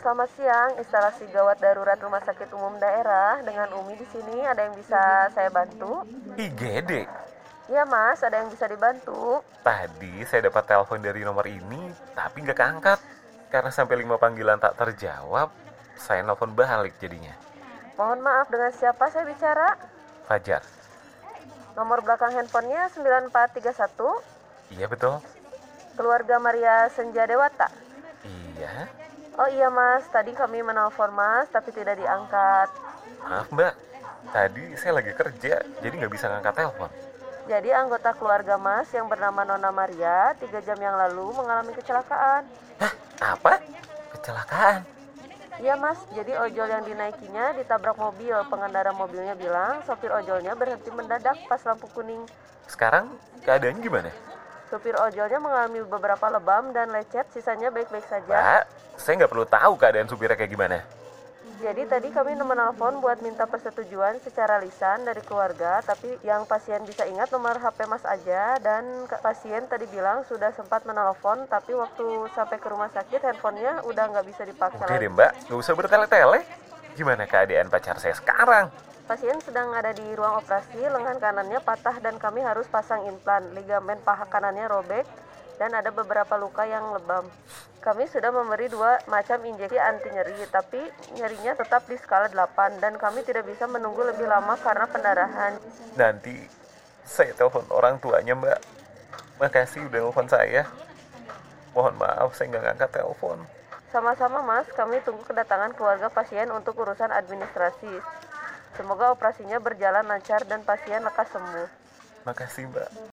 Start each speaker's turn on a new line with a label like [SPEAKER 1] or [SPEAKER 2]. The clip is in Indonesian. [SPEAKER 1] selamat siang. Instalasi gawat darurat Rumah Sakit Umum Daerah dengan Umi di sini. Ada yang bisa saya bantu?
[SPEAKER 2] IGD.
[SPEAKER 1] Iya, Mas. Ada yang bisa dibantu?
[SPEAKER 2] Tadi saya dapat telepon dari nomor ini, tapi nggak keangkat. Karena sampai lima panggilan tak terjawab, saya nelfon balik jadinya.
[SPEAKER 1] Mohon maaf dengan siapa saya bicara?
[SPEAKER 2] Fajar.
[SPEAKER 1] Nomor belakang handphonenya 9431.
[SPEAKER 2] Iya betul?
[SPEAKER 1] Keluarga Maria Senja Dewata.
[SPEAKER 2] Iya.
[SPEAKER 1] Oh iya, Mas. Tadi kami menelpon Mas tapi tidak diangkat.
[SPEAKER 2] Maaf mbak, tadi saya lagi kerja, jadi nggak bisa ngangkat telepon.
[SPEAKER 1] Jadi anggota keluarga Mas yang bernama Nona Maria tiga jam yang lalu mengalami kecelakaan.
[SPEAKER 2] Hah? Apa? Kecelakaan?
[SPEAKER 1] Iya mas, jadi ojol yang dinaikinya ditabrak mobil. Pengendara mobilnya bilang sopir ojolnya berhenti mendadak pas lampu kuning.
[SPEAKER 2] Sekarang keadaannya gimana?
[SPEAKER 1] Sopir ojolnya mengalami beberapa lebam dan lecet, sisanya baik-baik saja.
[SPEAKER 2] Mbak, saya nggak perlu tahu keadaan supirnya kayak gimana.
[SPEAKER 1] Jadi tadi kami menelpon buat minta persetujuan secara lisan dari keluarga, tapi yang pasien bisa ingat nomor HP mas aja dan ke- pasien tadi bilang sudah sempat menelpon, tapi waktu sampai ke rumah sakit handphonenya udah nggak bisa dipakai
[SPEAKER 2] Udah
[SPEAKER 1] lagi.
[SPEAKER 2] deh mbak, nggak usah bertele-tele. Gimana keadaan pacar saya sekarang?
[SPEAKER 1] Pasien sedang ada di ruang operasi, lengan kanannya patah dan kami harus pasang implan. Ligamen paha kanannya robek dan ada beberapa luka yang lebam. Kami sudah memberi dua macam injeksi anti nyeri, tapi nyerinya tetap di skala 8 dan kami tidak bisa menunggu lebih lama karena pendarahan.
[SPEAKER 2] Nanti saya telepon orang tuanya mbak. Makasih udah nelfon saya. Mohon maaf saya nggak ngangkat telepon.
[SPEAKER 1] Sama-sama mas, kami tunggu kedatangan keluarga pasien untuk urusan administrasi. Semoga operasinya berjalan lancar dan pasien lekas sembuh.
[SPEAKER 2] Makasih mbak.